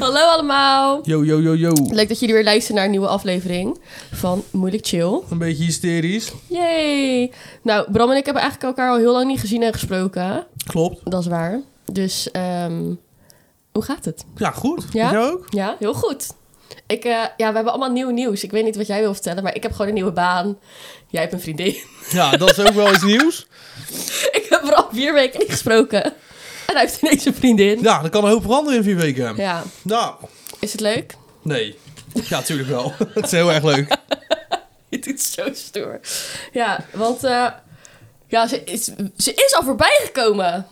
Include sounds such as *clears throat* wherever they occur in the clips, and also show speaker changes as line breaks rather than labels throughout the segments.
Hallo allemaal.
Yo, yo, yo, yo.
Leuk dat jullie weer luisteren naar een nieuwe aflevering van Moeilijk Chill.
Een beetje hysterisch.
Yay. Nou, Bram en ik hebben eigenlijk elkaar al heel lang niet gezien en gesproken.
Klopt.
Dat is waar. Dus, ehm, hoe gaat het?
Ja, goed.
Ja?
Met jou ook?
Ja, heel goed. Ik, eh, ja, we hebben allemaal nieuw nieuws. Ik weet niet wat jij wil vertellen, maar ik heb gewoon een nieuwe baan. Jij hebt een vriendin. *laughs*
Ja, dat is ook wel iets nieuws.
ik heb Bram vier weken niet gesproken. En hij heeft ineens een vriendin.
Ja, dat kan een hoop veranderen in vier weken.
Ja,
Nou,
is het leuk?
nee. Ja, tuurlijk wel. *laughs* Het is heel erg leuk.
*laughs* Het is zo stoer. Ja, want eh, ja, ze, is, ze is al voorbij gekomen.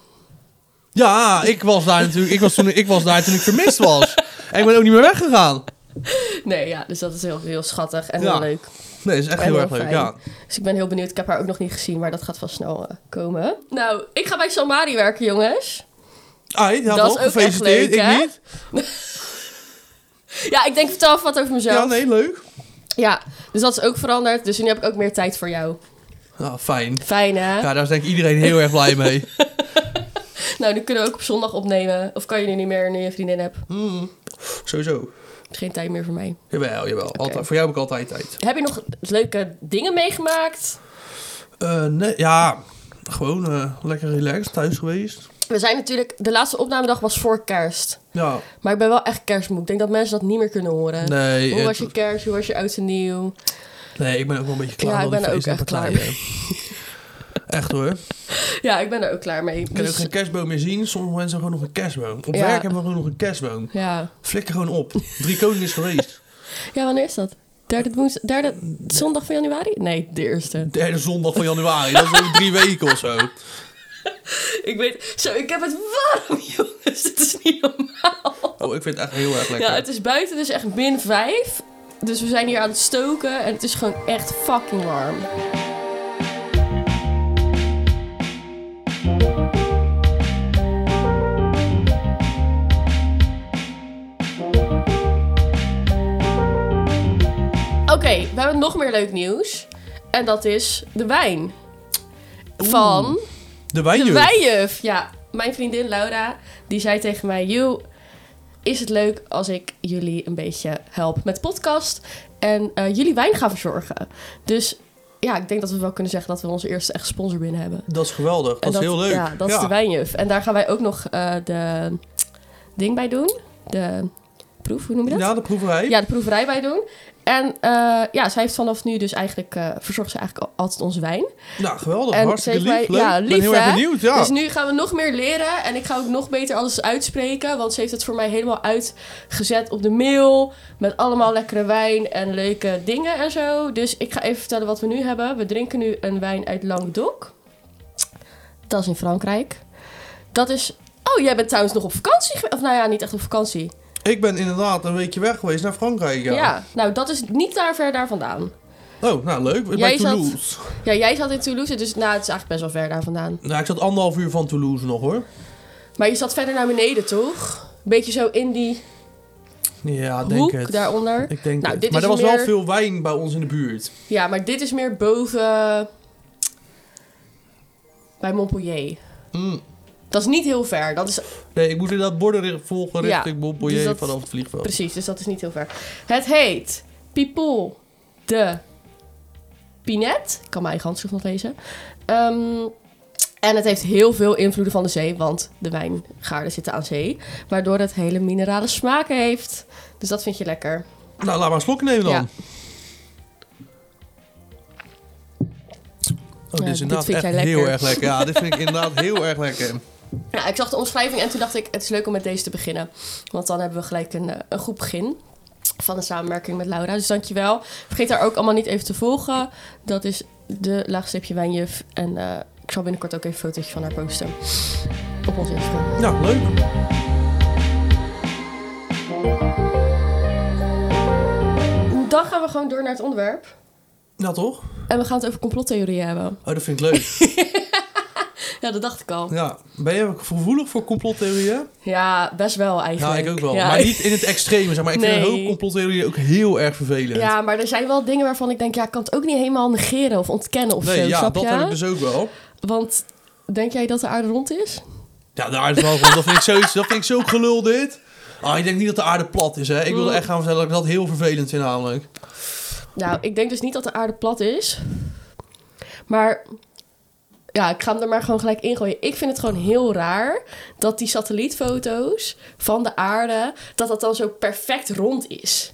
Ja, ik was daar natuurlijk. Ik was toen ik, was daar toen ik vermist was. En ik ben ook niet meer weggegaan.
Nee, ja, dus dat is heel, heel schattig en
Ja.
heel leuk.
Nee, dat is echt
En
heel
heel
erg leuk.
fijn.
Ja.
Dus ik ben heel benieuwd. Ik heb haar ook nog niet gezien, maar dat gaat vast snel eh, komen. Nou, ik ga bij Salmari werken, jongens.
Ai, ja,
Dat is
toch?
ook echt
Gefeliciteerd.
leuk, hè?
ik niet.
Ja, ik denk, vertel even wat over mezelf.
Ja, nee, leuk.
Ja, dus dat is ook veranderd. Dus nu heb ik ook meer tijd voor jou.
Ja, fijn.
Fijn, hè?
Ja, daar is denk ik iedereen heel erg blij
*laughs*
mee.
Nou, nu kunnen we ook op zondag opnemen. Of kan je nu niet meer, nu je vriendin hebt.
Hmm, Sowieso.
Geen tijd meer voor mij.
Jawel, jawel. Altijd, voor jou heb ik altijd tijd.
Heb je nog leuke dingen meegemaakt?
Eh, nee, ja, gewoon eh, lekker relaxed thuis geweest.
We zijn natuurlijk... De laatste opnamedag was voor kerst.
Ja,
Maar ik ben wel echt kerstmoe. Ik denk dat mensen dat niet meer kunnen horen.
nee,
Eh,
eh,
Hoe
het-
was je kerst? Hoe was je oud en nieuw?
nee, ik ben ook wel een beetje klaar
Ja,
met
ik ben
al die
er ook
feesten en
echt klaar
partijen.
*laughs*
Echt hoor. Ik
Ja, ik ben er ook klaar mee.
kan
Dus-
ook geen kerstboom meer zien. Sommige mensen hebben gewoon nog een kerstboom. Op
Ja.
werk hebben we gewoon nog een kerstboom.
ja.
Flikker gewoon op. Drie koningen is geweest. *laughs*
ja, wanneer is dat? Derde, woensdag, derde
Eh,
zondag van januari? Nee, de eerste.
Derde zondag van januari. Dat is over drie weken of zo.
Ik weet, zo, ik heb het warm, *laughs* jongens. Het is niet normaal.
Oh, ik vind het echt heel erg lekker.
Ja, het is buiten, het is echt min 5. Dus we zijn hier aan het stoken en het is gewoon echt fucking warm. Oké, we hebben nog meer leuk nieuws. En dat is de wijn. Van
De wijnjuf.
de wijjuf. Ja, mijn vriendin Laura, die zei tegen mij... Joe, is het leuk als ik jullie een beetje help met podcast... en eh, jullie wijn ga verzorgen. Dus ja, ik denk dat we wel kunnen zeggen... dat we onze eerste echt sponsor binnen hebben.
Dat is geweldig. Dat,
En
is heel leuk.
Ja, dat is de wijnjuf. En daar gaan wij ook nog eh, de ding bij doen. De proef, hoe noem je dat?
Ja, de proeverij.
Ja, de proeverij bij doen. En eh, ja, zij heeft vanaf nu dus eigenlijk... eh, verzorgt ze eigenlijk al- altijd onze wijn.
Nou, geweldig.
En
Hartstikke
zeg
lief.
maar,
leuk.
ja,
ik ben
lief,
heel erg
hè?
benieuwd. Ja.
Dus nu gaan we nog meer leren en ik ga ook nog beter alles uitspreken. Want ze heeft het voor mij helemaal uitgezet op de mail. Met allemaal lekkere wijn en leuke dingen en zo. Dus ik ga even vertellen wat we nu hebben. We drinken nu een wijn uit Languedoc. Dat is in Frankrijk. Dat is... Oh, jij bent trouwens nog op vakantie geweest. Of nou ja, niet echt op vakantie.
Ik ben inderdaad een weekje weg geweest naar Frankrijk.
Ja, nou dat is niet daar ver daar vandaan.
Oh, nou leuk. Bij
Jij zat-
Toulouse.
Ja, jij zat in Toulouse, dus nou, het is eigenlijk best wel ver daar vandaan.
Nou, ik zat anderhalf uur van Toulouse nog hoor.
Maar je zat verder naar beneden, toch? Beetje zo in die
Ja, ik denk
hoek
het.
daaronder.
Ik denk
Nou,
het.
dit
maar
is
er was
meer-
wel veel wijn bij ons in de buurt.
Ja, maar dit is meer boven... eh, Bij Montpellier.
Mm.
Dat is niet heel ver. Dat is
Nee, ik moet in dat borden ri- volgen
Ja,
richting Montpellier
dus dat-
vanaf het vliegveld.
precies, dus dat is niet heel ver. Het heet People de Pinet. Ik kan mijn eigen handschrift nog lezen. Ehm, en het heeft heel veel invloeden van de zee, want de wijngaarden zitten aan zee. Waardoor het hele minerale smaak heeft. Dus dat vind je lekker.
Nou, laat maar een slok nemen dan.
Ja.
Oh,
Ja,
dit
dit
is inderdaad
vind
echt
jij lekker.
heel erg lekker. Ja, dit vind ik
*laughs*
inderdaad heel erg lekker.
Ja, ik zag de omschrijving en toen dacht ik, het is leuk om met deze te beginnen. Want dan hebben we gelijk een, eh, een goed begin van de samenwerking met Laura. Dus dankjewel. Vergeet haar ook allemaal niet even te volgen. Dat is de laagstreepje wijnjuf. En eh, ik zal binnenkort ook even een fotootje van haar posten op onze Instagram.
Nou, leuk.
Dan gaan we gewoon door naar het onderwerp.
Ja, Nou, toch?
En we gaan het over complottheorieën hebben.
Oh, dat vind ik leuk.
Ja, dat dacht ik al.
Ja. Ben je gevoelig voor complottheorieën?
Ja, best wel
Ja,
eigenlijk.
ik ook wel.
Ja. *laughs*
Maar niet in het extreme, zeg maar. Ik vind
Nee.
een hoop complottheorieën ook heel erg vervelend.
Ja, maar er zijn wel dingen waarvan ik denk, ja, ik kan het ook niet helemaal negeren of ontkennen of
nee,
zo,
ja,
snap
dat
je?
heb ik dus ook wel.
Want denk jij dat de aarde rond is?
Ja, daar is wel gewoon. Dat vind ik zoiets. Dat vind ik zo gelul dit. Ah, ik denk niet dat de aarde plat is, hè. Ik
Mm.
wilde echt gaan vertellen dat ik dat heel vervelend vind namelijk.
Nou, ik denk dus niet dat de aarde plat is. Maar ja, ik ga hem er maar gewoon gelijk ingooien. Ik vind het gewoon heel raar dat die satellietfoto's van de aarde, dat dat dan zo perfect rond is.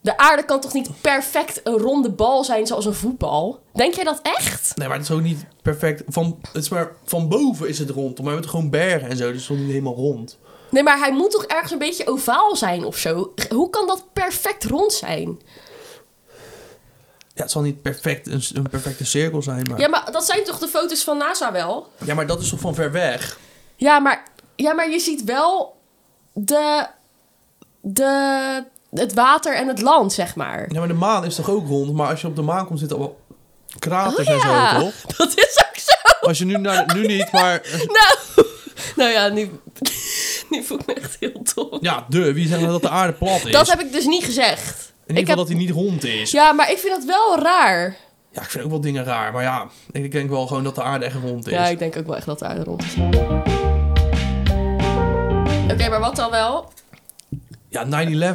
De aarde kan toch niet perfect een ronde bal zijn zoals een voetbal? Denk jij dat echt?
Nee, maar het is ook niet perfect. Van, het is maar, van boven is het rond, maar we hebben gewoon bergen en zo, dus het is nog niet helemaal rond.
Nee, maar hij moet toch ergens een beetje ovaal zijn of zo? Hoe kan dat perfect rond zijn?
Ja, het zal niet perfect een, een perfecte cirkel zijn, maar...
Ja, maar dat zijn toch de foto's van NASA wel?
Ja, maar dat is toch van ver weg?
Ja, maar, ja, maar je ziet wel de, de, het water en het land, zeg maar.
Ja, maar de maan is toch ook rond? Maar als je op de maan komt, zitten al kraters
Oh ja,
en zo, toch?
*laughs* dat is ook zo.
Als je nu, naar, nu niet, maar...
Nou, nou ja, nu, *laughs* nu voel ik me echt heel dom.
Ja, de, wie zegt nou dat de aarde plat is?
Dat heb ik dus niet gezegd.
In ieder
ik heb-
geval dat hij niet rond is. Ja.
Ja, maar ik vind dat wel raar.
ik vind ook wel dingen raar. Maar ja, ik denk wel gewoon dat de aarde echt rond is.
Ja, ik denk ook wel echt dat daar rond is. Oké, maar wat dan wel?
Ja,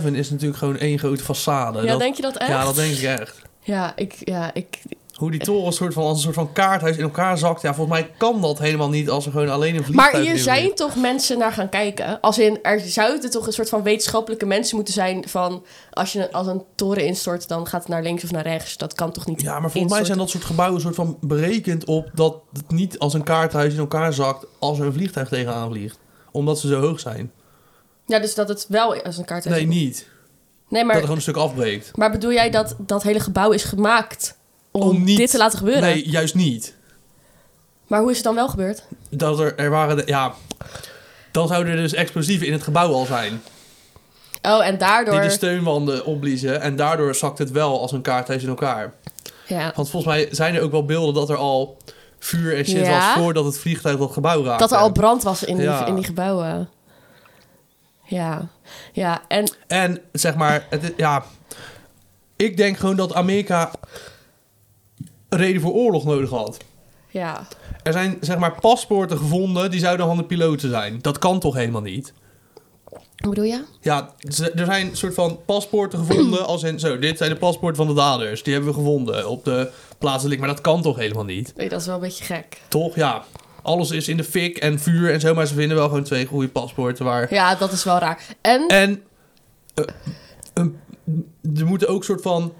9-11 is natuurlijk gewoon één grote façade.
Ja, denk je dat echt?
Ja, Eh, dat denk ik echt.
Ja, ik, ja, ik,
Hoe die toren soort van, als een soort van kaarthuis in elkaar zakt. Ja, volgens mij kan dat helemaal niet als er gewoon alleen een vliegtuig...
Maar hier
in
zijn
ligt.
toch mensen naar gaan kijken? Als in, er zouden toch een soort van wetenschappelijke mensen moeten zijn van... als je als een toren instort, dan gaat het naar links of naar rechts. Dat kan toch niet
Ja, maar volgens mij zijn dat soort gebouwen soort van berekend op... dat het niet als een kaarthuis in elkaar zakt als er een vliegtuig tegenaan vliegt. Omdat ze zo hoog zijn.
Ja, dus dat het wel als een kaart is.
Nee, niet.
Nee,
Dat
maar,
er gewoon een stuk afbreekt.
maar bedoel jij dat dat hele gebouw is gemaakt om,
Om niet-
dit te laten gebeuren?
Nee, juist niet.
Maar hoe is het dan wel gebeurd?
Dat er, er waren... de- ja, dan zouden er dus explosieven in het gebouw al zijn.
Oh, en daardoor...
Die de steunwanden opbliezen. En daardoor zakt het wel als een kaarthuis in elkaar.
ja.
Want volgens mij zijn er ook wel beelden dat er al vuur en shit
Ja.
was... voordat het vliegtuig dat gebouw raakte.
Dat er al brand was in die,
Ja.
in die gebouwen. Ja. Ja, en...
En zeg maar, het, is- ja... Ik denk gewoon dat Amerika reden voor oorlog nodig had.
Ja.
Er zijn zeg maar paspoorten gevonden die zouden van de piloten zijn. Dat kan toch helemaal niet?
Hoe bedoel je?
Ja, ze- er zijn soort van paspoorten gevonden. Als in, zo, dit zijn de paspoorten van de daders. Die hebben we gevonden op de plaatselijk. Maar dat kan toch helemaal niet?
Nee, dat is wel een beetje gek.
Toch? Ja. Alles is in de fik en vuur en zo. Maar ze vinden wel gewoon twee goede paspoorten waar.
Ja, dat is wel raar. En...
En eh, een- er moeten ook soort van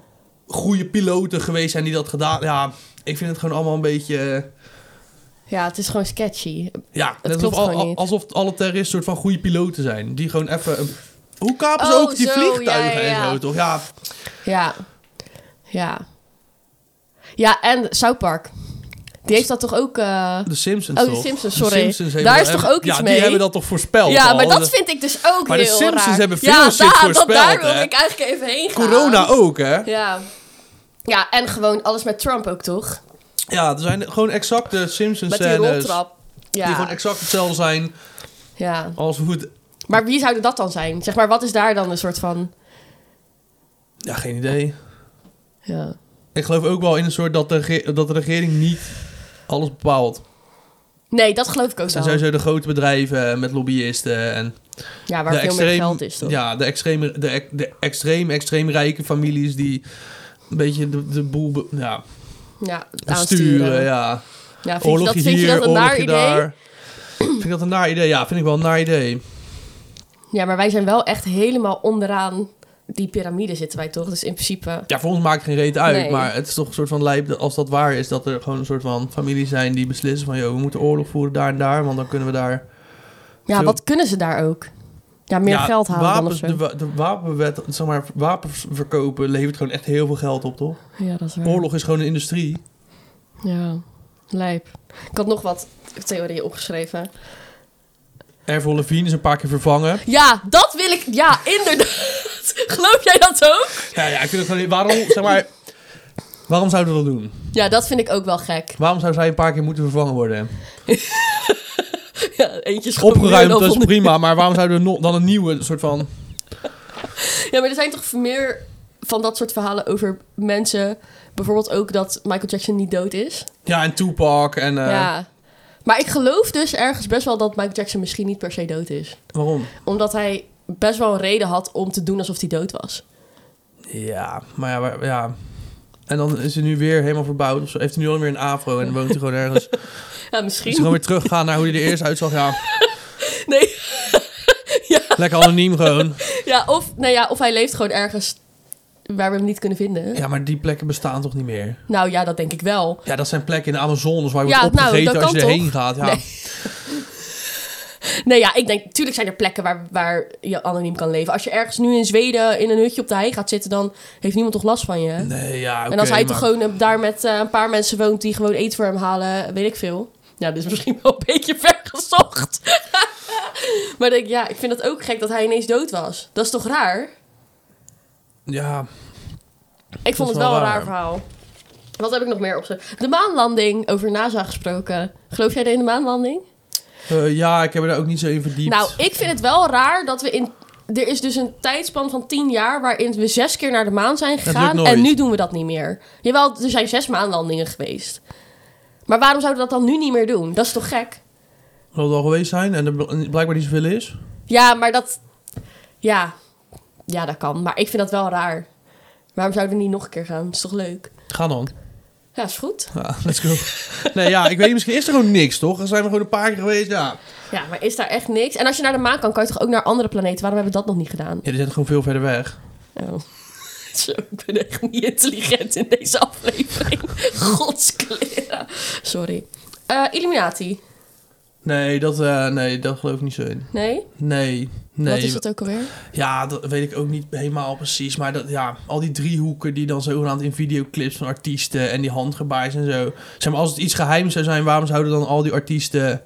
goede piloten geweest zijn die dat gedaan. Ja, ik vind het gewoon allemaal een beetje. eh,
Ja, het is gewoon sketchy.
Ja, net
klopt
alsof,
gewoon niet.
alsof alle terroristen soort van goede piloten zijn. Die gewoon even. een- hoe kapen ze
Oh,
ook die
zo,
vliegtuigen
ja, ja,
en
ja.
zo, toch? Ja,
Ja. Ja. Ja, en South Park. Die heeft dat toch ook... eh,
de Simpsons
Oh, de
toch?
Simpsons, sorry.
Simpsons hebben-
Daar is toch ook
ja,
iets
die
mee?
hebben dat toch voorspeld
ja,
al.
maar
De-
dat vind ik dus ook
Maar de
heel raar.
Simpsons hebben veel
ja,
shit
daar-
voorspeld,
dat, daar wil
hè?
ik eigenlijk even heen gaan.
Corona ook, hè?
Ja. Ja, en gewoon alles met Trump ook, toch?
Ja, er zijn gewoon exact de Simpsons
Met die
scènes.
roltrap.
Die
Ja.
gewoon exact hetzelfde zijn
ja.
als hoe het...
Maar wie zouden dat dan zijn? Zeg maar, wat is daar dan een soort van...
Ja, geen idee.
Ja.
Ik geloof ook wel in een soort dat de, rege- dat de regering niet alles bepaalt.
Nee, dat geloof ik ook
Het zijn
wel.
sowieso de grote bedrijven met lobbyisten en...
Ja, waar
de
veel meer geld is, toch?
Ja, de extreem, de, ex- de extreem, extreem rijke families die een beetje de, de boel be- ja,
Ja,
sturen.
Ja,
Ja.
vind je dat,
Oorlogje
vind je
hier,
dat een naar
oorlogje
idee?
daar. Vind ik dat een naar idee? Ja, vind ik wel een naar idee.
Ja, maar wij zijn wel echt helemaal onderaan die piramide zitten wij toch? Dus in principe...
Ja, voor ons maakt het geen reet uit.
Nee.
Maar het is toch een soort van lijp dat als dat waar is, dat er gewoon een soort van families zijn die beslissen van joh, we moeten oorlog voeren daar en daar. Want dan kunnen we daar
Ja,
Veel-
wat kunnen ze daar ook? Ja, meer
Ja,
geld halen
wapens,
dan of
de, wa- de wapenwet, zeg maar, wapens verkopen levert gewoon echt heel veel geld op, toch?
zo. Ja, dat is waar.
Oorlog is gewoon een industrie.
Ja, lijp. Ik had nog wat theorieën opgeschreven.
Ervol Levine is een paar keer vervangen.
Ja, dat wil ik... Ja, inderdaad. *laughs* Geloof jij dat ook?
Ja, ja, ik vind het gewoon. Waarom, zeg maar, waarom zouden we dat doen?
Ja, dat vind ik ook wel gek.
Waarom zou zij een paar keer moeten vervangen worden?
Ja, eentje is gewoon meer
Opgeruimd dus-
dan
dat is
voldoende.
prima, maar waarom zouden we nog- dan een nieuwe soort van.
Ja, maar er zijn toch meer van dat soort verhalen over mensen... Bijvoorbeeld ook dat Michael Jackson niet dood is.
Ja, en Tupac en. eh,
Ja. Maar ik geloof dus ergens best wel dat Michael Jackson misschien niet per se dood is.
Waarom?
Omdat hij best wel een reden had om te doen alsof hij dood was.
Ja, maar ja, waar- ja. En dan is hij nu weer helemaal verbouwd. Of zo. Heeft hij nu alweer een afro en woont hij gewoon
*laughs*
ergens. Is
Ja,
hij
misschien.
gewoon weer teruggaan naar hoe hij er eerst uitzag. Ja,
*laughs* Nee.
lekker anoniem gewoon.
Ja, of, nou ja, of hij leeft gewoon ergens waar we hem niet kunnen vinden.
Ja, maar die plekken bestaan toch niet meer?
Nou ja, dat denk ik wel.
Ja, dat zijn plekken in de Amazones waar je
Ja,
wordt
nou,
opgegeten
dat
als je
kan
erheen
toch?
gaat. Ja.
Nee. Nee, ja, ik denk, tuurlijk zijn er plekken waar, waar je anoniem kan leven. Als je ergens nu in Zweden in een hutje op de hei gaat zitten, dan heeft niemand toch last van je.
Nee, ja,
en als
oké,
hij
maar-
toch gewoon eh, daar met eh, een paar mensen woont die gewoon eten voor hem halen, weet ik veel. Ja, dit is misschien wel een beetje *laughs* ver gezocht. *laughs* maar denk, ik, ja, ik vind dat ook gek dat hij ineens dood was. Dat is toch raar?
Ja,
Ik
Dat
vond
is
het
wel
wel een
raar.
raar verhaal. Wat heb ik nog meer opgeschreven? De maanlanding, over NASA gesproken. Geloof jij in de maanlanding?
Eh, ja, ik heb er daar ook niet zo in verdiept.
Nou, ik vind het wel raar dat we in... Er is dus een tijdspan van tien jaar waarin we zes keer naar de maan zijn gegaan.
lukt nooit.
En nu doen we dat niet meer. Jawel, er zijn zes maanlandingen geweest. Maar waarom zouden we dat dan nu niet meer doen? Dat is toch gek?
Dat we al geweest zijn en er bl- blijkbaar niet zoveel is.
Ja, maar dat... Ja. ja, dat kan. Maar ik vind dat wel raar. Waarom zouden we niet nog een keer gaan? is toch leuk?
Ga dan.
Ja, is goed.
Ja, let's go.
*laughs*
nee, ja, ik weet niet, misschien is er gewoon niks, toch? Er zijn we gewoon een paar keer geweest, ja.
Ja, maar is daar echt niks? En als je naar de maan kan, kan je toch ook naar andere planeten? Waarom hebben we dat nog niet gedaan?
Ja, die zijn gewoon veel verder weg.
Oh. *laughs* Zo, ik ben echt niet intelligent in deze aflevering. *laughs* Godskleren. Sorry. Eh, Illuminati.
Nee, dat, eh, nee, dat geloof ik niet zo in.
Nee?
Nee, nee.
Wat is dat ook alweer?
Ja, dat weet ik ook niet helemaal precies. Maar dat, ja, al die driehoeken die dan zogenaamd in videoclips van artiesten en die handgebaars en zo. Zeg maar, als het iets geheim zou zijn, waarom zouden dan al die artiesten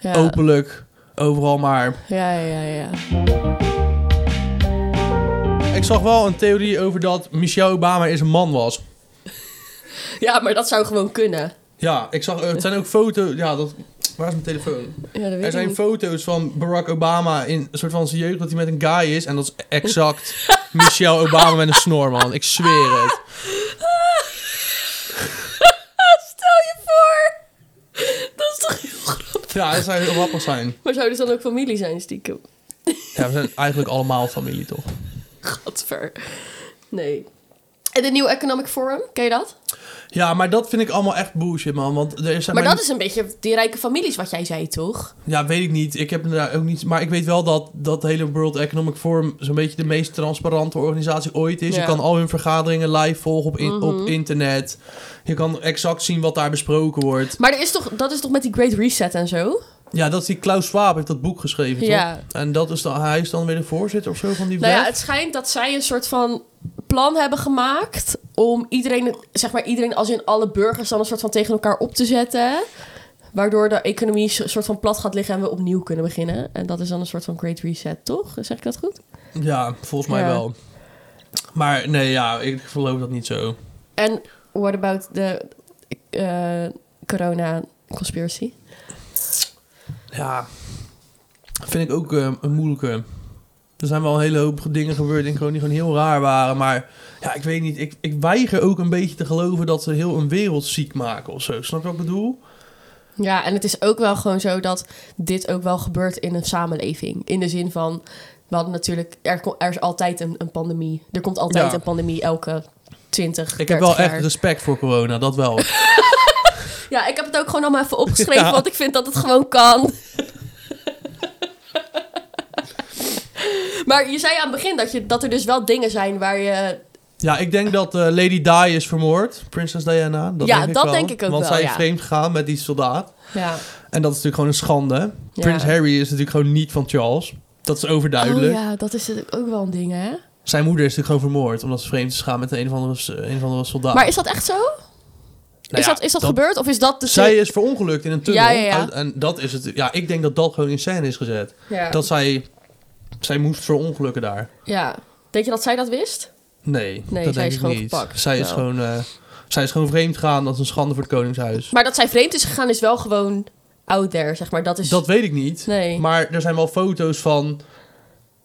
Ja.
openlijk overal maar...
Ja, ja, ja.
Ik zag wel een theorie over dat Michelle Obama eens een man was.
Ja, maar dat zou gewoon kunnen.
Ja, ik zag, eh, het zijn ook foto's, ja, dat... Waar is mijn telefoon?
Ja, dat weet
Er
ik
zijn
niet.
foto's van Barack Obama in een soort van zijn jeugd dat hij met een guy is. En dat is
*laughs*
exact Michelle Obama met een snor, man. Ik zweer het.
Ah, Stel je voor! *laughs* Dat is toch heel grappig.
Ja, dat zou heel grappig zijn.
Maar zouden ze dan ook familie zijn, stiekem?
Ja, we zijn eigenlijk allemaal familie, toch?
Gadver. Nee. En de New Economic Forum, ken je dat?
Ja, maar dat vind ik allemaal echt bullshit, man. Want er is,
Maar dat is een beetje die rijke families wat jij zei, toch?
Ja, weet ik niet. Ik heb daar ook niet... Maar ik weet wel dat dat hele World Economic Forum... zo'n beetje de meest transparante organisatie ooit is.
Ja. Mhm.
Je kan al hun vergaderingen live volgen op, in- op internet. Je kan exact zien wat daar besproken wordt.
Maar er is toch, dat is toch met die Great Reset en zo?
Ja, dat is die Klaus Schwab heeft dat boek geschreven,
Ja.
toch? En dat is dan, hij is dan weer de voorzitter of zo van die
Nou ja,
wet?
het schijnt dat zij een soort van plan hebben gemaakt om iedereen, zeg maar iedereen als in alle burgers dan een soort van tegen elkaar op te zetten. Waardoor de economie een soort van plat gaat liggen en we opnieuw kunnen beginnen. En dat is dan een soort van great reset, toch? Zeg ik dat goed?
Ja, volgens mij
Ja.
wel. Maar nee, ja, ik geloof dat niet zo.
En what about de eh, corona conspiracy?
Ja, vind ik ook eh, een moeilijke. Er zijn wel een hele hoop dingen gebeurd in gewoon die gewoon heel raar waren. Maar ja, ik weet niet. Ik, ik weiger ook een beetje te geloven dat ze heel een wereld ziek maken of zo. Snap je wat ik bedoel?
Ja, en het is ook wel gewoon zo dat dit ook wel gebeurt in een samenleving. In de zin van, we hadden natuurlijk, er, ko- er is altijd een, een pandemie. Er komt altijd
Ja.
een pandemie elke 20,
Ik heb wel
30
echt
jaar.
respect voor corona, dat wel.
Ja, ik heb het ook gewoon allemaal even opgeschreven,
*laughs* Ja.
want ik vind dat het gewoon kan. maar je zei aan het begin dat, je, dat er dus wel dingen zijn waar je...
Ja, ik denk dat eh, Lady Di is vermoord, Prinses Diana. Dat
Ja,
denk ik
dat
wel.
denk ik ook
Want
wel,
zij
ja.
is vreemd gegaan met die soldaat.
Ja.
En dat is natuurlijk gewoon een schande. Prins Harry is natuurlijk gewoon niet van Charles. Dat is overduidelijk.
Oh ja, dat is natuurlijk ook wel een ding, hè?
Zijn moeder is natuurlijk gewoon vermoord, omdat ze vreemd is gegaan met een of andere, een of andere soldaat.
Maar is dat echt zo?
Ah. Nou
is,
ja,
dat, is dat, gebeurd? Of is dat de...
Zij is verongelukt in een tunnel.
Ja, ja, ja.
En, en dat is het. Ja, ik denk dat dat gewoon in scène is gezet.
Ja.
Dat zij, zij moest verongelukken daar.
ja. Denk je dat zij dat wist?
Nee,
Nee,
dat
zij
denk
is
ik
gewoon
niet.
gepakt.
Zij is
Nou.
gewoon, eh, zij is gewoon vreemd gegaan. Dat is een schande voor het koningshuis.
Maar dat zij vreemd is gegaan is wel gewoon out there, zeg maar. Dat is
Dat weet ik niet.
Dus- Nee.
Maar er zijn wel foto's van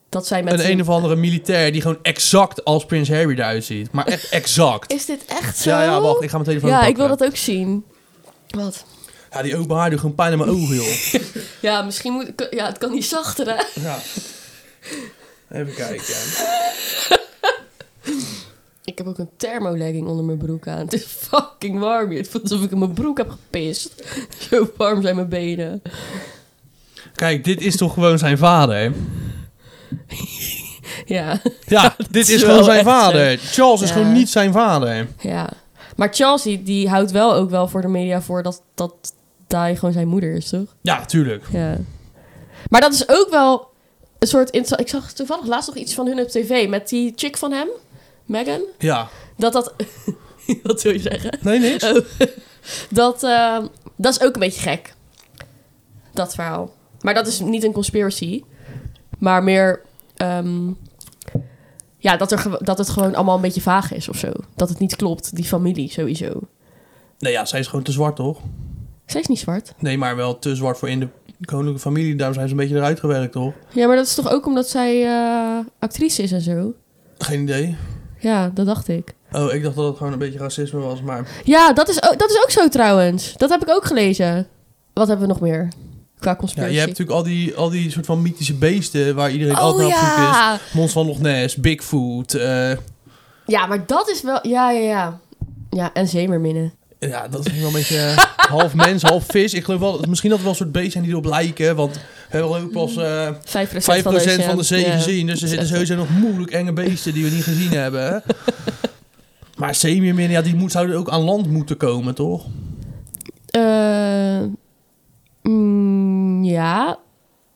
dat zij met
een
hun-
een of andere militair die gewoon exact als Prins Harry eruit ziet. Maar
*laughs*
echt exact.
Is dit echt zo?
ja, ja, wacht. Ik ga mijn telefoon
Ja,
pakken.
ik wil dat ook zien. Wat?
Ja, die open haar doet gewoon
*laughs*
pijn in mijn ogen, joh.
Ja, misschien moet... Ja, het kan niet zachter, hè?
ja. Even kijken.
Ik heb ook een thermolegging onder mijn broek aan. Het is fucking warm hier. Het voelt alsof ik in mijn broek heb gepist. *laughs* Zo warm zijn mijn benen.
Kijk, dit is toch gewoon zijn vader?
Ja, *laughs*
Ja, dit is
is
gewoon
wel
zijn
echt
vader. Charles is
Ja.
gewoon niet zijn vader.
ja. Maar Charles, die, die houdt wel ook wel voor de media voor dat, dat Dai gewoon zijn moeder is, toch?
Ja, tuurlijk.
Ja. Maar dat is ook wel een soort... inter- Ik zag toevallig laatst nog iets van hun op tv met die chick van hem, Megan.
Ja.
Dat dat... *laughs* Wat wil je zeggen? *laughs*
Nee, niks.
Oh. dat, eh, dat is ook een beetje gek. Dat verhaal. Maar dat is niet een conspiracy. Maar meer... ehm, ja, dat, er, gew- dat het gewoon allemaal een beetje vaag is of zo. Dat het niet klopt, die familie sowieso.
Nee, ja, zij is gewoon te zwart, toch?
Zij is niet zwart.
Nee, maar wel te zwart voor in de koninklijke familie. Daarom zijn ze een beetje eruit gewerkt, toch?
Ja, maar dat is toch ook omdat zij eh, actrice is en zo?
Geen idee.
Ja, dat dacht ik.
Oh, ik dacht dat het gewoon een beetje racisme was, maar...
Ja, dat is, ook- dat is ook zo trouwens. Dat heb ik ook gelezen. Wat hebben we nog meer? Qua
Ja,
conspiracy.
je hebt natuurlijk al die, al die soort van mythische beesten waar iedereen
oh
altijd naar op zoek
ja!
is. Mons van Loch Ness, Bigfoot. eh,
Ja, maar dat is wel... Ja, ja, ja. Ja, en zeemerminnen.
ja, dat is wel een beetje eh, *laughs* half mens, half vis. Ik geloof wel, dat- misschien dat er wel een soort beesten zijn die erop lijken. Want we hebben al ook pas eh
5%,
5% van de,
oceaan.
zee
Ja.
gezien. Dus er zitten sowieso nog moeilijk enge beesten die we niet gezien
*laughs*
hebben. Maar zeemeerminnen, ja, die moet, zouden ook aan land moeten komen, toch?
Eh, mm, ja,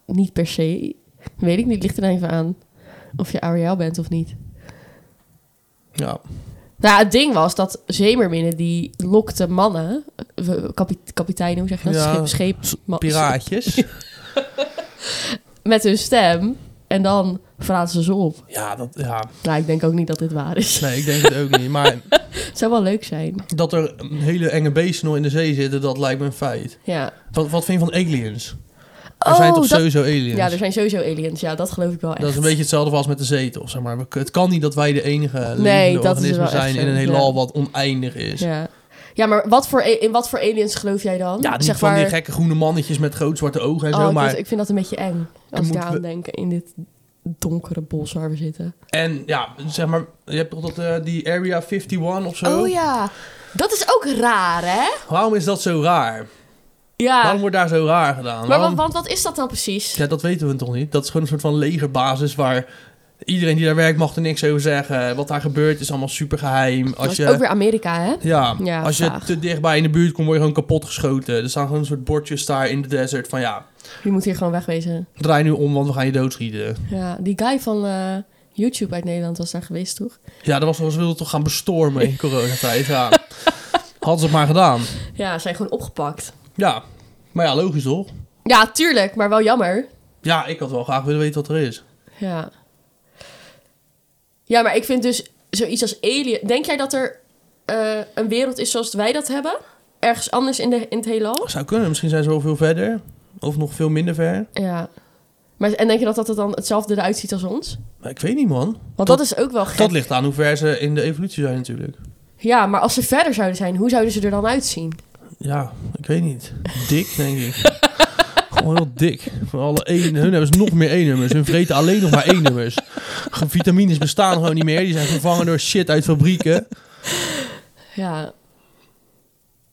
niet per se. Weet ik niet, ligt er even aan of je areaal bent of niet.
Ja.
Nou, het ding was dat zeemerminnen die lokten mannen, eh, kapi- kapiteinen, hoe zeg je dat?
Ja,
Scheep, scheep, ma- *laughs*
Piraatjes.
Met hun stem. En dan vraten ze ze op.
Ja, dat, ja,
Nou, ik denk ook niet dat dit waar is.
nee, ik denk het ook niet. Maar
Het *laughs* zou wel leuk zijn.
dat er een hele enge beesten nog in de zee zitten, dat lijkt me een feit.
Ja.
Wat, wat vind je van aliens? Er zijn toch
Oh, dat-
sowieso aliens?
Ja, er zijn sowieso aliens. Ja, dat geloof ik wel echt.
Dat is een beetje hetzelfde als met de zee, toch? Zeg maar. we- Het kan niet dat wij de enige levende
Nee, dat is
organismen
wel echt
zijn in
zo,
een heelal
ja.
wat oneindig is. Ja.
Ja. Ja, maar wat voor, a- in wat voor aliens geloof jij dan?
niet van die gekke groene mannetjes met groot zwarte ogen en
oh,
zo,
ik,
maar...
vind, ik vind dat een beetje eng.
Dan
Als ik
moeten
daaraan
we-
denk, in dit donkere bos waar we zitten.
En ja, zeg maar, je hebt toch dat, eh, die Area 51 of zo?
Oh, ja, dat is ook raar, hè?
Waarom is dat zo raar?
Ja,
Waarom wordt daar zo raar gedaan?
maar
Waarom-
want, want wat is dat dan precies?
Ja, dat weten we toch niet? Dat is gewoon een soort van legerbasis waar iedereen die daar werkt mag er niks over zeggen. Wat daar gebeurt is allemaal supergeheim.
dat
Als
is
je,
ook weer Amerika, hè?
ja,
Ja,
als je
vaag.
te dichtbij in de buurt komt, word je gewoon kapot geschoten. Er staan gewoon een soort bordjes daar in de desert van ja,
Je moet hier gewoon wegwezen.
draai nu om, want we gaan je doodschieten.
Ja, die guy van eh, YouTube uit Nederland was daar geweest, toch?
Ja, dat was wel eens wilden toch gaan bestormen
*laughs*
in coronatijd. Ja. Hadden ze het maar gedaan.
Ja, zijn gewoon opgepakt.
Ja, maar ja, logisch toch?
Ja, tuurlijk, maar wel jammer.
Ja, ik had wel graag willen weten wat er is.
Ja. Ja, maar ik vind dus zoiets als alien... Denk jij dat er eh, een wereld is zoals wij dat hebben? Ergens anders in, de, in het heelal?
Zou kunnen, misschien zijn ze wel veel verder. Of nog veel minder ver.
Ja. Maar, en denk je dat dat er dan hetzelfde eruit ziet als ons?
Maar ik weet niet, man.
Want dat is ook wel gek.
Dat ligt aan hoe ver ze in de evolutie zijn natuurlijk.
Ja, maar als ze verder zouden zijn, hoe zouden ze er dan uitzien?
Ja, ik weet niet. Dik, denk ik. Gewoon heel dik. Van alle één, hun hebben ze nog meer E-nummers. Hun vreten alleen nog maar E-nummers. Ge- Vitamines bestaan gewoon niet meer. Die zijn vervangen door shit uit fabrieken.
Ja.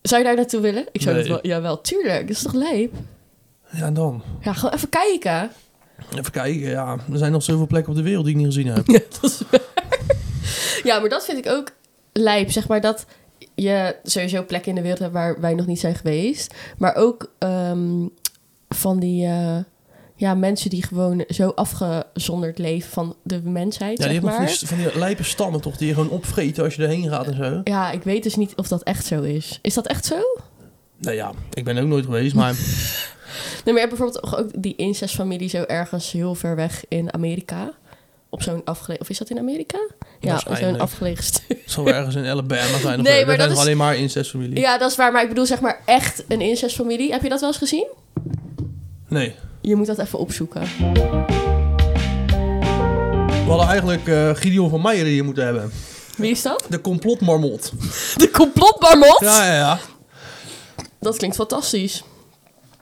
Zou je daar naartoe willen? Ik zou
Nee.
dat wel... Jawel, tuurlijk. Dat is toch leuk?
Ja, en dan.
Ja, gewoon even kijken.
Even kijken, ja. Er zijn nog zoveel plekken op de wereld die ik niet gezien heb.
*laughs* Ja, dat is waar. Ja, maar dat vind ik ook lijp, zeg maar, dat je sowieso plekken in de wereld hebt waar wij nog niet zijn geweest. Maar ook ehm, van die eh, ja, mensen die gewoon zo afgezonderd leven van de mensheid,
Ja,
zeg
die hebben nog van
maar.
die, van die lijpe stammen toch, die je gewoon opvreten als je erheen gaat en zo.
Ja, ik weet dus niet of dat echt zo is. Is dat echt zo?
Nou ja, ik ben ook nooit geweest, maar...
Nee, maar je hebt bijvoorbeeld ook die incestfamilie zo ergens heel ver weg in Amerika. Op zo'n afgelegen... Of is dat in Amerika? Ja, zo'n
Waarschijnlijk.
afgelegen stuk.
Het zal wel ergens in Alabama zijn. Of
Nee,
nee,
maar
maar zijn
dat
toch
is-
alleen maar incestfamilie.
Ja, dat is waar. Maar ik bedoel, zeg maar, echt een incestfamilie. Heb je dat wel eens gezien?
Nee.
Je moet dat even opzoeken.
We hadden eigenlijk eh Gideon van Meijeren hier moeten hebben.
Wie is dat?
De complotmarmot.
De complotbarmot?
ja, ja.
Dat klinkt fantastisch.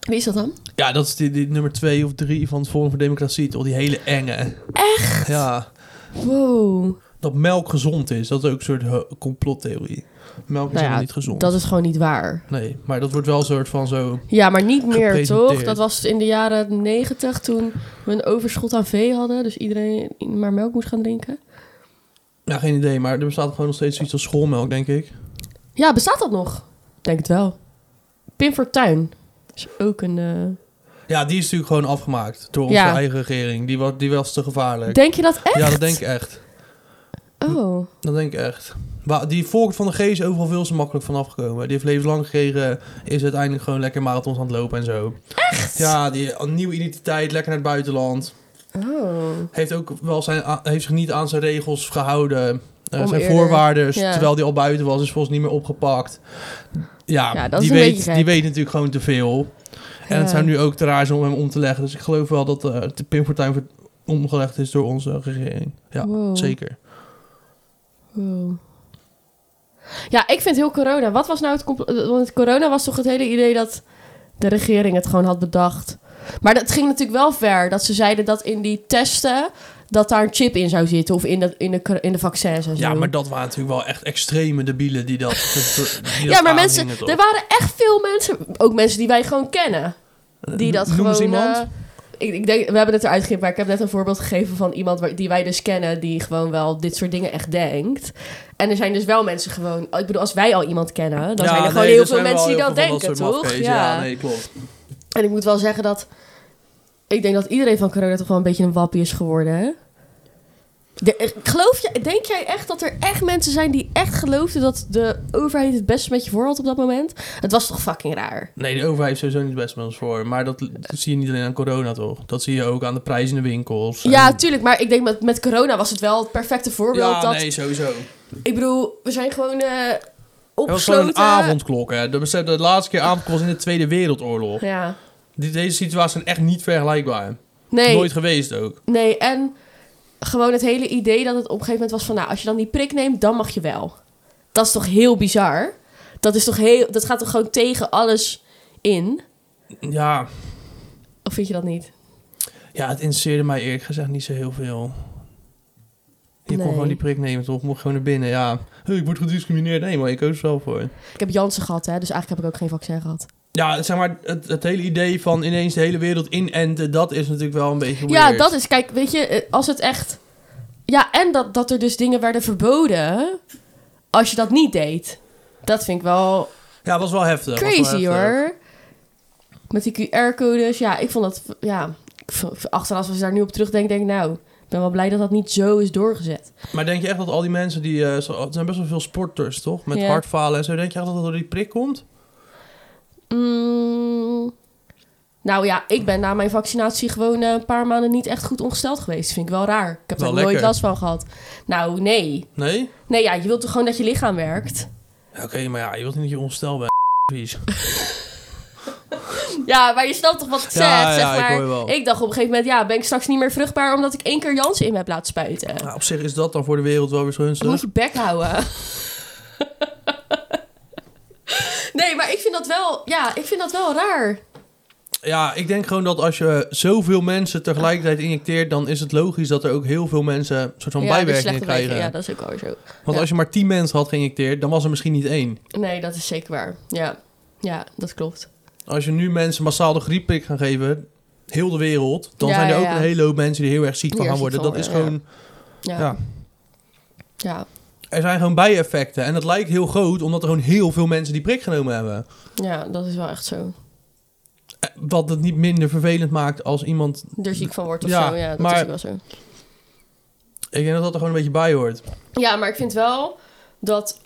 Wie is dat dan?
Ja, dat is die, die nummer twee of drie van het Forum voor Democratie. Toch die hele enge. Echt? Ja.
Wow.
Dat melk gezond is. Dat is ook een soort ho- complottheorie. Melk is
Nou ja,
helemaal niet gezond.
Dat is gewoon niet waar.
Nee, maar dat wordt wel een soort van zo...
Ja, maar niet meer
Gepresenteerd.
toch? Dat was in de jaren negentig toen we een overschot aan vee hadden. Dus iedereen maar melk moest gaan drinken.
Ja, geen idee. Maar er bestaat gewoon nog steeds iets als schoolmelk, denk ik.
Ja, bestaat dat nog? Denk het wel. Pim Fortuyn is ook een... eh,
Ja, die is natuurlijk gewoon afgemaakt door onze
Ja.
eigen regering. Die was, die was te gevaarlijk.
Denk je dat echt?
Ja, dat denk ik echt.
Oh.
Dat denk ik echt. Maar die Volkert van de G is overal veel te makkelijk vanaf gekomen. Die heeft levenslang gekregen, is uiteindelijk gewoon lekker marathons aan het lopen en zo. Echt? Ja, die een nieuwe identiteit, lekker naar het buitenland.
Oh.
Heeft ook wel zijn, a- heeft zich niet aan zijn regels gehouden. Eh,
Om
zijn
eerder,
voorwaarden,
ja.
terwijl die al buiten was, is volgens niet meer opgepakt. Ja,
Ja, dat is
die,
een
weet,
beetje gek.
die weet natuurlijk gewoon te veel. En het
Ja.
zou nu ook te raar zijn om hem om te leggen. Dus ik geloof wel dat eh, de Pim Fortuyn ver- omgelegd is door onze regering. Ja,
Wow.
zeker.
Wow. Oh. Ja, ik vind heel corona. Wat was nou het compl- eh, Want corona was toch het hele idee dat de regering het gewoon had bedacht. Maar dat ging natuurlijk wel ver. Dat ze zeiden dat in die testen dat daar een chip in zou zitten. Of in de, in de, cor- in de vaccins en zo.
Ja, maar dat waren natuurlijk wel echt extreme
*laughs*
debielen die dat. dat- die dat
Ja, maar
aanhingen,
mensen,
toch? Eh,
er waren echt veel mensen, ook mensen die wij gewoon kennen, die dat
Noem
gewoon.
eens iemand.
eh, ik, ik denk, we hebben het eruit geknipt, maar ik heb net een voorbeeld gegeven van iemand waar- die wij dus kennen, die gewoon wel dit soort dingen echt denkt. En er zijn dus wel mensen gewoon, ik bedoel, als wij al iemand kennen, dan
Ja,
zijn er
nee,
gewoon heel
er
veel
zijn wel
mensen die
heel
dat
veel van
denken,
soort
toch?
mafkees. Ja, nee, klopt.
En ik moet wel zeggen dat, ik denk dat iedereen van corona toch wel een beetje een wappie is geworden, hè? De- eh, geloof je, denk jij echt dat er echt mensen zijn die echt geloofden dat de overheid het beste met je voor had op dat moment? Het was toch fucking raar?
Nee, de overheid heeft sowieso niet best met ons voor. Maar dat, dat zie je niet alleen aan corona, toch? Dat zie je ook aan de prijzen in de winkels. en-
Ja, tuurlijk, maar ik denk met, met corona was het wel het perfecte voorbeeld.
Ehm. ja
dat,
nee, sowieso. Er
Ik bedoel, we zijn gewoon eh
was gewoon
opgesloten.
een avondklok, hè. De, besef- de laatste keer avondklok was in de Tweede Wereldoorlog.
Ja.
Die- Deze situaties zijn echt niet vergelijkbaar.
Nee,
Nooit geweest ook.
nee, en gewoon het hele idee dat het op een gegeven moment was van... Nou, als je dan die prik neemt, dan mag je wel. Dat is toch heel bizar? Dat, is toch heel, dat gaat toch gewoon tegen alles in?
Ja,
Of vind je dat niet?
ja, het interesseerde mij eerlijk gezegd niet zo heel veel. Je
Nee.
kon gewoon die prik nemen, toch? Mocht gewoon naar binnen, ja. Hey, ik word gediscrimineerd. Nee, maar ik koos er zelf voor.
Ik heb Jansen gehad, hè, dus eigenlijk heb ik ook geen vaccin gehad.
Ja, zeg maar, het, het hele idee van ineens de hele wereld inenten, dat is natuurlijk wel een beetje
Ja,
weird.
dat is. Kijk, weet je, eh, als het echt. Ja, en dat, dat er dus dingen werden verboden. als je dat niet deed. Dat vind ik wel
Ja, was wel heftig. was wel
crazy
heftig.
hoor. Met die QR-codes. Ja, ik vond dat. Ja, ik vond- achteraf, als ik daar nu op terugdenk, denk ik nou. Ik ben wel blij dat dat niet zo is doorgezet.
Maar denk je echt dat al die mensen die... eh, zo- het zijn best wel veel sporters, toch? Met
Ja.
hartfalen en zo. Denk je echt dat dat door die prik komt?
Mm, nou ja, ik ben na mijn vaccinatie gewoon eh, een paar maanden niet echt goed ongesteld geweest. Vind ik wel raar. Ik heb
Wel
er nooit
lekker.
last van gehad. Nou, nee.
Nee?
Nee, ja, je wilt toch gewoon dat je lichaam werkt?
Oké, maar ja, je wilt niet dat je onstel bent. *laughs* Vies.
Ja, maar je snapt toch wat ik
Ja,
zeg, zeg
ja, ik
maar.
hoor je wel.
dacht op een gegeven moment, ja, ben ik straks niet meer vruchtbaar... omdat ik één keer Jansen in me heb laten spuiten.
Nou, op zich is dat dan voor de wereld wel weer zo
Dan moet
gunstig.
je bek houden. *laughs* nee, maar ik vind dat wel, ja, ik vind dat wel raar.
Ja, ik denk gewoon dat als je zoveel mensen tegelijkertijd injecteert... dan is het logisch dat er ook heel veel mensen een soort van
ja, de
bijwerkingen
slechte wegen,
krijgen.
Ja, dat is ook alweer zo.
Want
ja.
als je maar tien mensen had geïnjecteerd, dan was er misschien niet één.
Nee, dat is zeker waar. Ja, ja dat klopt.
Als je nu mensen massaal de griepprik gaan geven, heel de wereld, dan
Ja,
zijn er
ja,
ook
ja.
een hele hoop mensen die heel erg ziek van
Hier
gaan
ziek
worden.
van
Dat is
worden,
gewoon,
Ja.
Ja.
Ja. Ja.
er zijn gewoon bijeffecten. En dat lijkt heel groot, omdat er gewoon heel veel mensen die prik genomen hebben.
dat is wel echt zo.
Eh, Wat het niet minder vervelend maakt als iemand.
Er ziek van wordt of
Ja,
zo. Ja, dat
maar-
is ook wel zo.
Ik denk dat dat er gewoon een beetje bij hoort.
Ja, maar ik vind wel dat.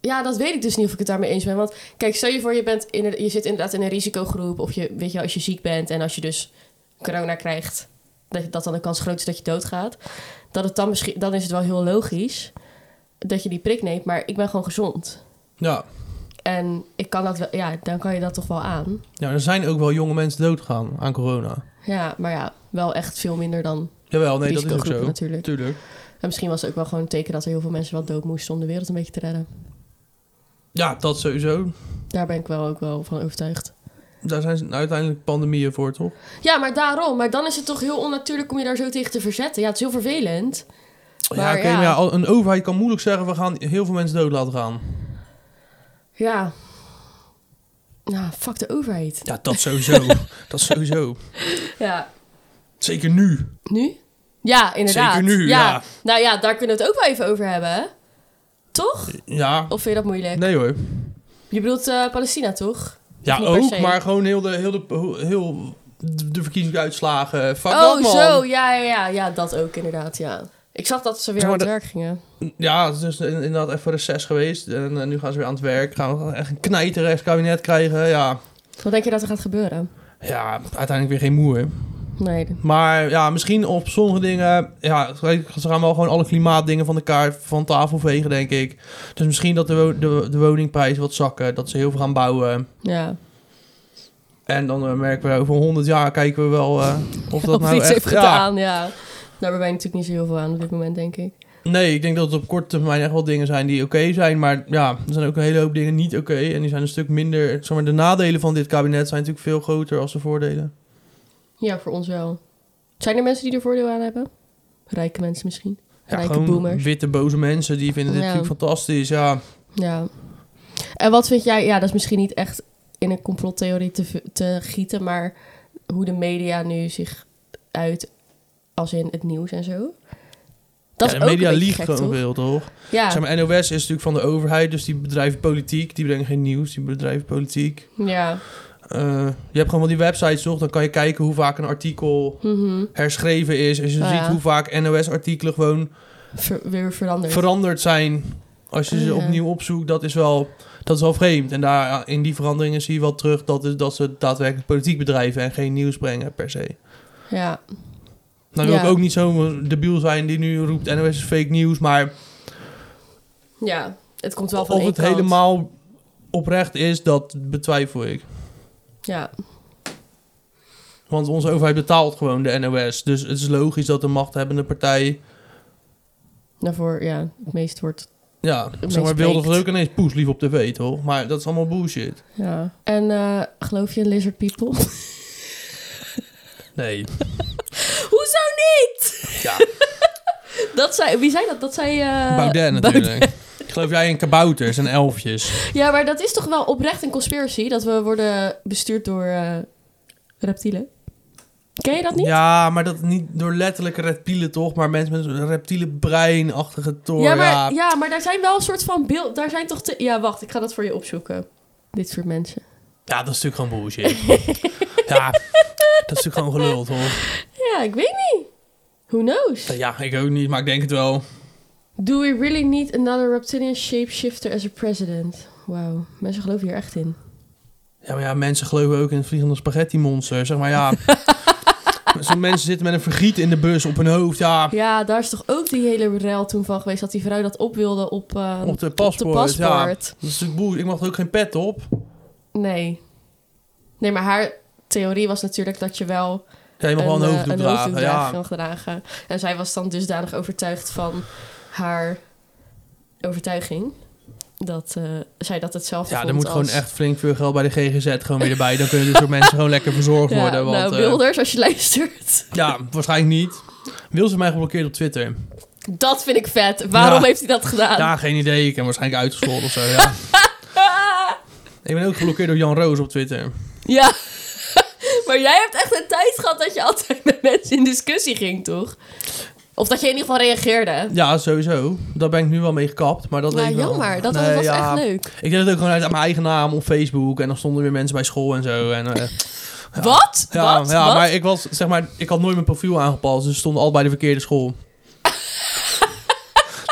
Ja, dat weet ik dus niet of ik het daarmee eens ben. Want kijk, stel je voor, je, bent in je zit inderdaad in een risicogroep. Of je, weet je, als je ziek bent en als je dus corona krijgt, dat, dat dan de kans groot is dat je doodgaat. Dat het dan, misschien, dan is het wel heel logisch dat je die prik neemt. Maar ik ben gewoon gezond.
Ja.
En ik kan dat wel, ja, dan kan je dat toch wel aan.
ja, er zijn ook wel jonge mensen doodgaan aan corona.
Ja, maar ja, wel echt veel minder dan
Jawel, nee, dat is ook
risicogroepen
zo.
natuurlijk.
Tuurlijk.
En misschien was het ook wel gewoon een teken dat er heel veel mensen wat dood moesten om de wereld een beetje te redden.
Ja, dat sowieso.
Daar ben ik wel ook wel van overtuigd.
Daar zijn ze- nou, uiteindelijk pandemieën voor, toch?
Ja, maar daarom. Maar dan is het toch heel onnatuurlijk om je daar zo tegen te verzetten. Ja, het is heel vervelend.
ja,
Maar
oké,
ja.
maar ja, al- een overheid kan moeilijk zeggen... we gaan heel veel mensen dood laten gaan.
Ja. Nou, fuck de overheid.
Ja, dat
*laughs*
sowieso. dat sowieso.
Ja.
Zeker nu.
Nu? Ja, inderdaad.
Zeker nu, ja.
Nou ja, daar kunnen we het ook wel even over hebben, hè? Toch?
Ja.
Of vind je dat moeilijk?
Nee hoor.
Je bedoelt eh, Palestina, toch?
Ja,
niet per
ook,
se.
maar gewoon heel de, heel de, heel de verkiezingsuitslagen. Fuck
oh,
dat, man.
zo. Ja, ja, ja, ja, dat ook inderdaad, ja. Ik zag dat ze weer
Zeg
aan
maar
het werk gingen.
Ja, het is dus in- inderdaad even reces geweest. En eh, nu gaan ze weer aan het werk. Gaan we echt een knijterrechts kabinet krijgen. Ja.
Wat denk je dat er gaat gebeuren?
ja, uiteindelijk weer geen moe. hè.
Nee.
Maar ja, misschien op sommige dingen... Ja, ze gaan wel gewoon alle klimaatdingen van de kaart van tafel vegen, denk ik. Dus misschien dat de, wo- de, de woningprijzen wat zakken. Dat ze heel veel gaan bouwen.
Ja.
En dan eh, merken we over 100 jaar kijken we wel eh, of dat
Of
nou
iets
echt...
heeft
ja,
gedaan, ja. Nou, Daar ben ik natuurlijk niet zo heel veel aan op dit moment, denk ik.
Nee, ik denk dat het op korte termijn echt wel dingen zijn die oké zijn. Maar ja, er zijn ook een hele hoop dingen niet oké. en die zijn een stuk minder. Zeg maar, de nadelen van dit kabinet zijn natuurlijk veel groter als de voordelen.
Ja, voor ons wel. Zijn er mensen die er voordeel aan hebben? Rijke mensen misschien. Rijke
gewoon
boomers.
witte boze mensen die vinden dit
Ja.
natuurlijk fantastisch. Ja,
Ja. En wat vind jij... Ja, dat is misschien niet echt in een complottheorie te, v- te gieten... maar hoe de media nu zich uit... als in het nieuws en zo. Dat is
Ja, de
ook
media
een beetje
liegt
gek,
gewoon
toch?
veel, toch?
Ja,
Zeg maar, NOS is natuurlijk van de overheid, dus die bedrijven politiek. Die brengen geen nieuws, die bedrijven politiek.
ja.
Eh, je hebt gewoon wel die websites, toch? Dan kan je kijken hoe vaak een artikel
mhm.
herschreven is. Als je
Ah,
ziet
ja.
hoe vaak NOS-artikelen gewoon
Ver- weer veranderd.
veranderd zijn. Als je ze
Ah, ja.
opnieuw opzoekt, dat is wel, dat is wel vreemd. En daar, in die veranderingen zie je wel terug dat, is, dat ze daadwerkelijk politiek bedrijven en geen nieuws brengen per se. Nou,
ja.
Dan wil
Ja.
ik ook niet zo debiel zijn die nu roept NOS is fake nieuws. Maar
ja, het komt wel van
of
één
het
kant.
helemaal oprecht is, dat betwijfel ik.
Ja,
Want onze overheid betaalt gewoon de NOS. Dus het is logisch dat de machthebbende partij...
daarvoor ja, het meest wordt...
Ja, zeg maar,
spreekt.
wilde het ook ineens poes lief op tv, toch? Maar dat is allemaal bullshit.
Ja. En eh, geloof je in lizard people?
Nee.
Hoezo niet?
*laughs* Ja,
Eh, Dat zei, wie zei dat? Dat zei... eh,
Baudet
Baudet.
natuurlijk. Geloof jij in kabouters en elfjes?
Ja, maar dat is toch wel oprecht een conspiracy... dat we worden bestuurd door eh, reptielen? Ken je dat niet?
Ja, maar dat niet door letterlijke reptielen toch, maar mensen met een reptiele breinachtige toren.
ja,
Ja,
maar, ja. maar daar zijn wel een soort van beeld... Daar zijn toch... Te, ja, wacht, ik ga dat voor je opzoeken. Dit soort mensen.
Ja, dat is natuurlijk gewoon
*laughs*
bullshit. ja, dat is natuurlijk gewoon gelul toch?
Ja, ik weet niet. Who knows?
Ja, ik ook niet, maar ik denk het wel.
Do we really need another reptilian shapeshifter as a president? Wauw, mensen geloven hier echt in.
Ja, maar ja, mensen geloven ook in het vliegende spaghetti monster, zeg maar *laughs* ja. Zo'n mensen zitten met een vergiet in de bus op hun hoofd, ja.
Ja, daar is toch ook die hele rel toen van geweest... dat die vrouw dat op wilde op, eh,
Op de paspoort,
paspoort.
Dat is natuurlijk bullshit. Ik mag er ook geen pet op.
Nee. Nee, maar haar theorie was natuurlijk dat je wel...
Ja, je mag wel een
eh,
hoofddoek dragen,
hoofddoek dragen
ja.
kan dragen. En zij was dan dusdanig overtuigd van haar overtuiging... dat eh, zij dat hetzelfde
Ja,
vond
er moet gewoon
als-
echt flink veel geld bij de GGZ gewoon weer erbij. Dan kunnen dit soort mensen gewoon lekker verzorgd
Ja,
worden. Want,
nou,
eh,
Wilders, als je *laughs* luistert...
Ja, waarschijnlijk niet. Wil ze mij geblokkeerd op Twitter?
Dat vind ik vet. Waarom
Ja.
heeft hij dat gedaan?
Ja, geen idee. Ik heb hem waarschijnlijk uitgescholden of zo. *laughs* Ja. ik ben ook geblokkeerd door Jan Roos op Twitter.
Ja. *laughs* maar jij hebt echt een tijd gehad dat je altijd met mensen in discussie ging, toch? Of dat je in ieder geval reageerde.
Ja, sowieso. Daar ben ik nu wel mee gekapt. Maar dat
Maar
weet ik wel.
jammer, dat was-
Nee,
was
ja.
echt leuk.
Ik deed het ook gewoon uit mijn eigen naam op Facebook. En dan stonden weer mensen bij school en zo. En,
*laughs*
eh,
Wat?
ja,
Wat?
ja
Wat?
maar ik was, zeg maar, ik had nooit mijn profiel aangepast. Dus ze stonden al bij de verkeerde
*laughs*
school.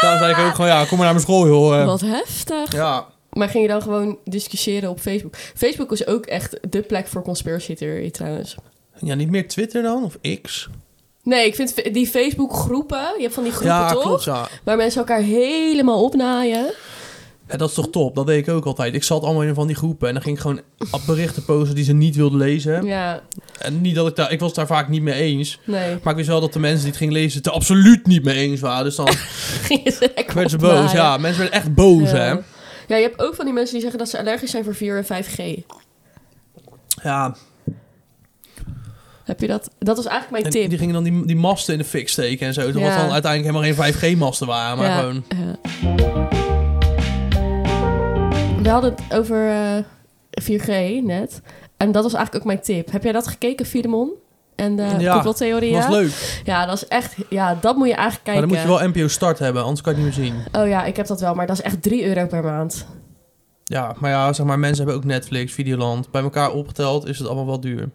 Daarom zei ik ook gewoon, ja, kom maar naar mijn school, joh. eh.
Wat heftig.
Ja.
Ehm, Maar ging je dan gewoon discussiëren op Facebook? Facebook is ook echt de plek voor conspiracy theory trouwens.
ja, niet meer Twitter dan? Of X?
Nee, ik vind fe- die Facebook groepen, je hebt van die groepen
ja,
toch?
klopt, ja.
Waar mensen elkaar helemaal opnaaien.
Ja, dat is toch top? Dat deed ik ook altijd. Ik zat allemaal in van die groepen en dan ging ik gewoon berichten posten die ze niet wilden lezen.
Ja,
En niet dat ik daar, ik was daar vaak niet mee eens. *laughs*
nee.
Maar ik wist wel dat de mensen die het gingen lezen het er absoluut niet mee eens
*laughs*
waren. Dus dan
Gingen ze lekker
werden ze
opnaaien.
boos. Ja, mensen werden echt boos, hè?
Ja. Ja, je hebt ook van die mensen die zeggen dat ze allergisch zijn voor 4 en 5G.
Ja,
Heb je dat? Dat was eigenlijk
en
mijn tip.
die gingen dan die, die masten in de fik steken en zo. Terwijl
Ja.
het dan uiteindelijk helemaal geen 5G-masten waren, maar
Ja,
gewoon...
ja. We hadden het over eh, 4G net. En dat was eigenlijk ook mijn tip. Heb jij dat gekeken, Fiedemon? En de
Ja,
complottheorieën?
Dat was leuk.
Ja, dat is echt... Ja, dat moet je eigenlijk
Maar dan
kijken.
moet je wel NPO Start hebben, anders kan je het niet meer zien.
Oh ja, ik heb dat wel, maar dat is echt 3 euro per maand.
Ja, maar ja, zeg maar, mensen hebben ook Netflix, Videoland. Bij elkaar opgeteld is het allemaal wel duur.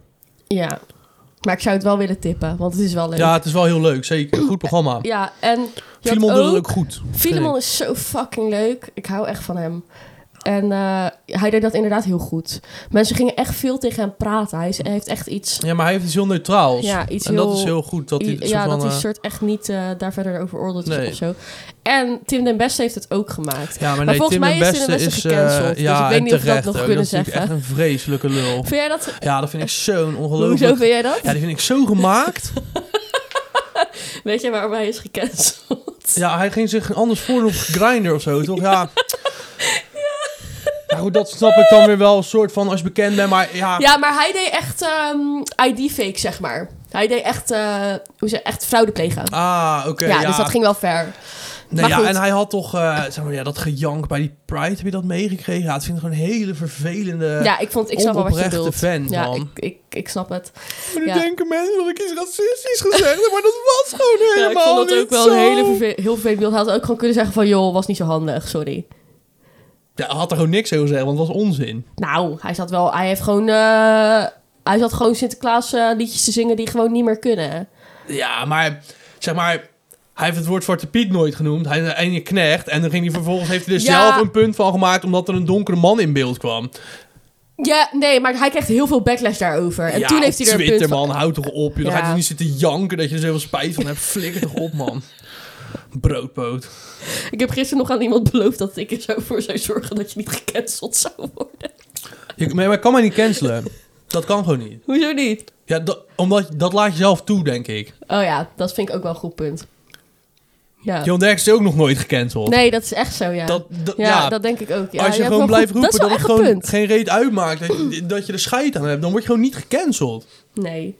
Ja. Maar ik zou het wel willen tippen, want het is wel leuk.
Ja, het is wel heel leuk, zeker. Goed programma.
Ja, en... je had
Filemon doet het
ook-
ook goed.
Filemon is zo fucking leuk. Ik hou echt van hem. En eh, hij deed dat inderdaad heel goed. Mensen gingen echt veel tegen hem praten. Hij, is- hij heeft echt iets...
Ja, maar hij heeft iets heel neutraals.
Ja, iets
en
heel...
dat is heel goed. Dat hij
i-
het soort
ja,
van,
dat hij
eh,
soort echt niet eh, daar verder over oordeelt
Nee.
of zo. En Tim den Beste heeft het ook gemaakt.
Ja, maar, nee,
volgens
Tim
mij
de
is Tim
Beste
de
is...
Beste gecanceld,
eh,
dus
ja,
ik weet
en
niet of we dat
terecht
nog
ook.
kunnen
is natuurlijk
zeggen.
echt een vreselijke lul.
Vind jij dat...
Ja,
*laughs*
dat vind ik zo'n
Hoezo
Oh. ongelooflijk...
vind jij dat?
Ja, die vind ik zo
*laughs*
gemaakt.
Weet jij waarom hij is gecanceld?
Ja, hij ging zich anders voordoen op Grindr of zo, toch?
*laughs*
Ja. Ja, goed, dat snap ik dan weer wel. Een soort van als je bekend bent, maar *laughs* ja.
Ja, maar hij deed echt ehm, ID-fake, zeg maar. Hij deed echt, eh, hoe zeg, echt fraude plegen.
Ah, oké.
ja, dus dat ging wel ver.
Nee,
maar
ja,
goed.
en hij had toch eh, zeg maar, ja, dat gejank bij die Pride. Heb je dat meegekregen? Ja, het vind ik gewoon een hele vervelende.
ja, ik, vond, ik snap wel wat je
Eh, onoprechte
bedoelt.
fan,
ja,
man.
ik, ik, ik snap het.
Maar nu
ja.
denken mensen dat ik iets racistisch gezegd heb, maar dat was gewoon
Ja, ik
helemaal
vond dat
niet
ook wel
zo.
een hele verve- heel vervelend beeld. Hij had ook gewoon kunnen zeggen van... joh, was niet zo handig, sorry.
Ja, hij had er gewoon niks over gezegd, want het was onzin.
Nou, hij zat wel... Hij heeft gewoon... eh, hij zat gewoon Sinterklaas eh, liedjes te zingen die gewoon niet meer kunnen.
Ja, maar zeg maar... Hij heeft het woord Zwarte Piet nooit genoemd. Hij zei, en je knecht. En dan ging hij vervolgens, heeft hij er
Ja.
zelf een punt van gemaakt... omdat er een donkere man in beeld kwam.
Ja, nee, maar hij krijgt heel veel backlash daarover. En
ja,
toen
op
heeft hij er
Twitter,
een punt van...
man, houd toch op. Je Dan ga je
Ja.
toch niet zitten janken dat je er zoveel
*laughs*
spijt van hebt. Flikker toch op, man. Broodpoot.
Ik heb gisteren nog aan iemand beloofd dat ik er zo voor zou zorgen... dat je niet gecanceld zou worden. *laughs*
Je, maar, maar kan mij niet cancelen. Dat kan gewoon niet.
Hoezo niet?
Ja, dat, omdat dat laat je zelf toe, denk ik.
Oh ja, dat vind ik ook wel een goed punt. Ja.
John Derks is ook nog nooit gecanceld.
Nee, dat is echt zo, ja.
Dat, dat-
ja,
ja,
dat denk ik ook. Ja,
als je
hebt
gewoon
wel
blijft
goed-
roepen dat,
is
het
wel echt
gewoon
een punt.
geen reet uitmaakt, dat je, *clears throat* dat je er scheid aan hebt, dan word je gewoon niet gecanceld.
Nee.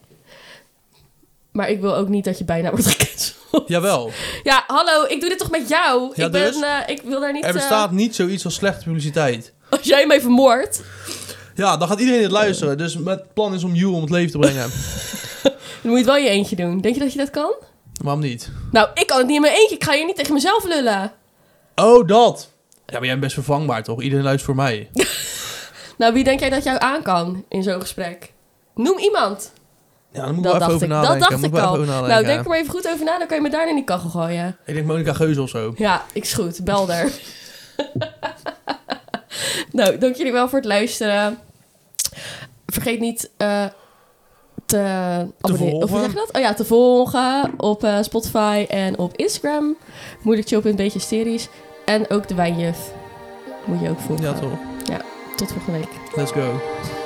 Maar ik wil ook niet dat je bijna wordt gecanceld.
Jawel.
Ja, hallo, ik doe dit toch met jou?
Ja,
ik, ben,
dus?
eh, ik wil daar niet...
Er
eh,
bestaat niet zoiets als slechte publiciteit.
*laughs* als jij mij vermoordt,
Ja, dan gaat iedereen het luisteren. Dus het plan is om you om het leven te
*laughs*
brengen.
dan moet je het wel in je eentje doen. Denk je dat je dat kan?
Waarom niet?
Nou, ik kan het niet in mijn eentje. Ik ga hier niet tegen mezelf lullen.
Oh, dat! Ja, maar jij bent best vervangbaar, toch? Iedereen luistert voor mij.
Nou, wie denk jij dat jou aan kan in zo'n gesprek? Noem iemand.
Ja, dan moet ik
Dat
wel even
dacht
over
ik.
nadenken.
Dat dacht
Moet
ik
wel even
al.
over nadenken.
Nou, denk er maar even goed over na. Dan kan je me daarna in die kachel gooien.
Ik denk Monica Geuze of zo.
Ja, ik is goed. Bel daar. *laughs* nou, dank jullie wel voor het luisteren. Vergeet niet eh, te abonneren. Of hoe
volgen.
zeg je dat? Oh ja, te volgen op eh, Spotify en op Instagram. Moeilijk chill, een beetje hysterisch. En ook de wijnjuf moet je ook volgen.
Ja, toch?
Tot volgende week.
Let's go.